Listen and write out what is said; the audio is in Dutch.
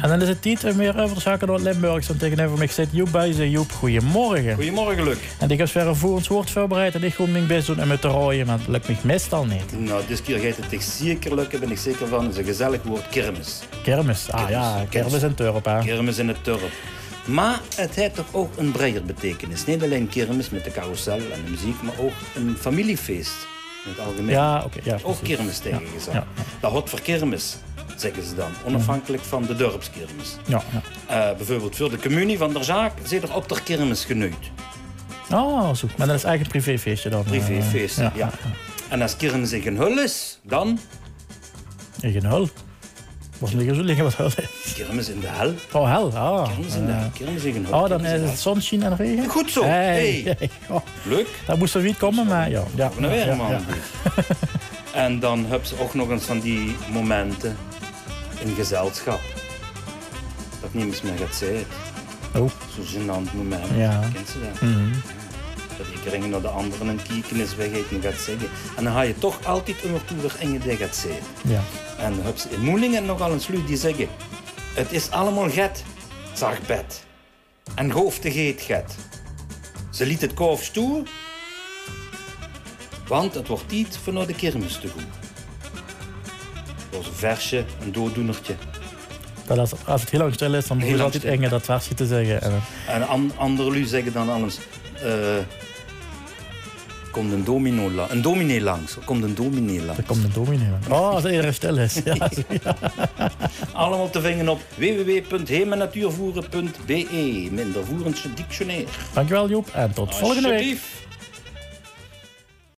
En dan is het Dieter meer over de zaken door Limburgs. En tegenover mij zit Joep Buizen. Joep, goedemorgen. Goedemorgen, Luc. En ik heb verder voor ons woord voorbereid en ik kom niet best doen en met te rooien, maar dat lukt me meestal niet. Nou, dit keer gaat het echt zeker lukken, ben ik zeker van. Het is een gezellig woord, kermis. Kermis, ah ja, Kermis. kermis in Turp, hè. Kermis in het dorp. Maar het heeft toch ook een breder betekenis. Niet alleen kermis met de carousel en de muziek, maar ook een familiefeest. In het algemeen. Ja, oké, ja. Ook precies. kermis tegengezegd. Ja, Dat hot voor kermis, zeggen ze dan. Onafhankelijk van de dorpskermis. Ja, ja. Eh, bijvoorbeeld voor de communie van der zaak zit er op de kermis genuid. Oh, zo. Maar dat is eigenlijk een privéfeestje dan. Privéfeest, Eh, ja. En als kermis zich een hul is, dan In geen hul. Was liggen zo liggen wat hul is. kermis in de hel. Oh, hel, ah. Kermis in de hel, kermis in de hel. Oh, dan kermis in is de het zonsheen en regen. Goed zo, Hey. hey. Oh, hel. Leuk. daar moest er niet komen, maar ja. ja, Nou ja, weer, ja, man. ja. En dan heb ze ook nog eens van die momenten in gezelschap. Dat niemand meer gaat zeggen. Oh, Zo'n gênant moment. Ja. Kent ze dat? mhm. Dat ik ringen naar de anderen en kieken is weg en gaat zeggen. En dan ga je toch altijd om toe waar Inge die gaat zeggen. ja. En dan heb ze in Moelingen nogal een sluit die zeggen... Het is allemaal get, zag Bet. En goof te geet get. Ze liet het koof stoer... Want het wordt niet voor naar de kermis te goed. Dat was een versje, een dooddoenertje. Dat als, als het heel lang stil is, dan moet Heel je lang altijd stil. Inge dat versje te zeggen. En, dan- En an, andere lui zeggen dan alles... eh, komt een domino la- een dominee langs. Er komt een dominee langs. dan komt een dominee. Oh, als iedereen stil is. Ja, Allemaal te vingen op www.hemenatuurvoeren.be. Mindervoerendse dictionair. Dankjewel Joep en tot volgende week. Alsjeblieft.